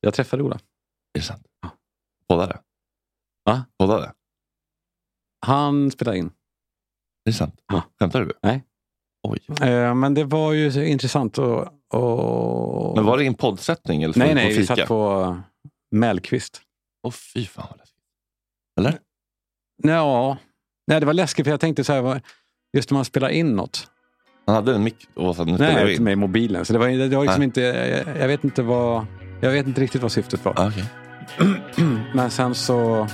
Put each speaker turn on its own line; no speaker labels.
Jag träffade Ola.
Är det sant?
Ja.
Poddade?
Va?
Poddade? Är
Han spelade in.
det sant?
Ja.
Skämtar du?
Nej.
Oj.
Eh, men det var ju så intressant och... och...
Men var det i en poddsättning? Eller
nej,
på
nej, vi
fika?
satt på eh, Mellqvist.
Åh fy fan vad läskigt. Eller?
Ja, nej, det var läskigt för jag tänkte så här, vad- just när man spelar in något.
Han hade en mick och var så här, nu spelar vi
Nej,
in.
med mobilen. Så det var, det var liksom
Nej.
inte, jag, jag vet inte vad, jag vet inte riktigt vad syftet var.
Ah, okej.
Men sen så